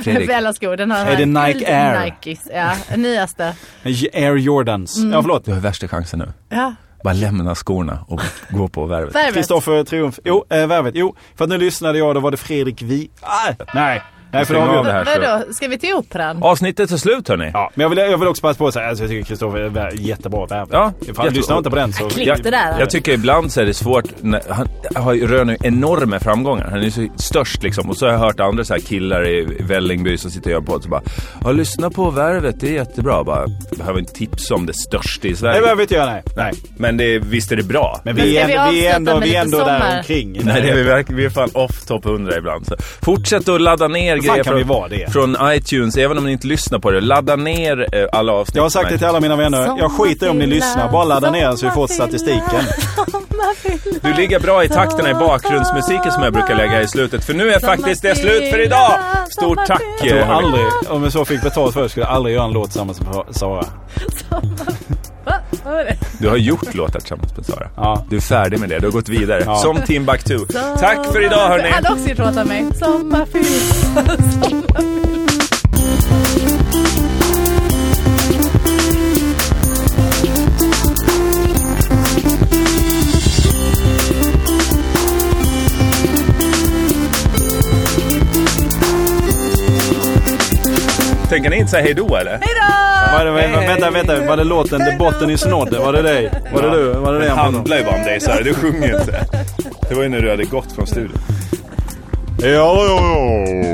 Speaker 2: Fredrik,
Speaker 1: Bella skor. Den har
Speaker 3: Är det Nike
Speaker 1: guld
Speaker 3: Air?
Speaker 1: Nikes, ja. Nyaste.
Speaker 3: J- Air Jordans.
Speaker 1: Mm,
Speaker 3: Ja, förlåt.
Speaker 2: du har värsta chansen nu.
Speaker 1: Ja.
Speaker 2: Bara lämna skorna och gå på värvet.
Speaker 1: Värvet.
Speaker 3: Kristoffer Triumf. Jo, äh, värvet. Jo, för att nu lyssnade jag, då var det Fredrik Vi... Ah, nej, nej, för det har vi
Speaker 2: Stäng av
Speaker 3: gjort.
Speaker 2: det här. så-
Speaker 1: Vadå, ska vi till operan?
Speaker 2: Avsnittet är slut hörni.
Speaker 3: Ja, men jag vill, jag vill också passa på att säga, alltså, jag tycker Kristoffer är vä- jättebra värvet.
Speaker 2: Ja,
Speaker 3: Ifall du
Speaker 2: jättebra.
Speaker 3: lyssnar inte på den så...
Speaker 1: Klipp det där.
Speaker 2: Jag tycker ibland så är det svårt. När, han har, ju- rör nu enorma framgångar. Han är ju så störst liksom. Och så har jag hört andra så här killar i Vällingby som sitter och gör en podd. Så bara, ja lyssna på Värvet, det är jättebra. Bara, behöver inte tipsa om det största i
Speaker 3: Nej,
Speaker 2: Sverige.
Speaker 3: det behöver vi inte göra, nej. nej.
Speaker 2: Men det, visst är det bra?
Speaker 3: Men
Speaker 1: Men
Speaker 3: vi
Speaker 1: ska
Speaker 3: är,
Speaker 1: vi
Speaker 3: ändå- vi är
Speaker 1: avsluta
Speaker 3: ändå,
Speaker 1: med
Speaker 3: vi är
Speaker 1: lite
Speaker 3: ändå
Speaker 1: sommar?
Speaker 3: där omkring.
Speaker 2: Nej, det är vi, verkligen, vi är fan off top 100 ibland. Så fortsätt att ladda ner
Speaker 3: fan
Speaker 2: grejer
Speaker 3: kan vi vara det?
Speaker 2: från iTunes, även om ni inte lyssnar på det. Ladda ner eh, alla avsnitt.
Speaker 3: Jag har sagt
Speaker 2: Nej.
Speaker 3: det till alla mina vänner. Jag skiter i om ni lyssnar. Bara ladda ner så vi får statistiken.
Speaker 2: Du ligger bra i takterna i bakgrundsmusiken som jag brukar lägga i slutet. För nu är faktiskt det slut för idag! Stort tack!
Speaker 3: Jag
Speaker 2: eh,
Speaker 3: tror
Speaker 2: hörni.
Speaker 3: aldrig, om jag så fick betalt för det, skulle jag aldrig göra en låt tillsammans med Sara.
Speaker 1: Va? Vad var det?
Speaker 2: Du har gjort låtar tillsammans med Sara.
Speaker 3: Ja.
Speaker 2: Du är färdig med det, du har gått vidare.
Speaker 3: Ja.
Speaker 2: Som Timbuktu. Tack för idag hörni!
Speaker 1: Han har också gjort låtar med mig. Sommarfylla.
Speaker 2: Tänker ni inte säga hejdå eller?
Speaker 3: Var det, vänta, vänta. Var det låten The Botten is Nod? Var det dig? Var det du? Var det det
Speaker 2: Det
Speaker 3: han pratade om?
Speaker 2: handlar ju bara om dig Sara, du sjunger inte. Det var ju när du hade gått från studion.
Speaker 3: Ja, ja, ja.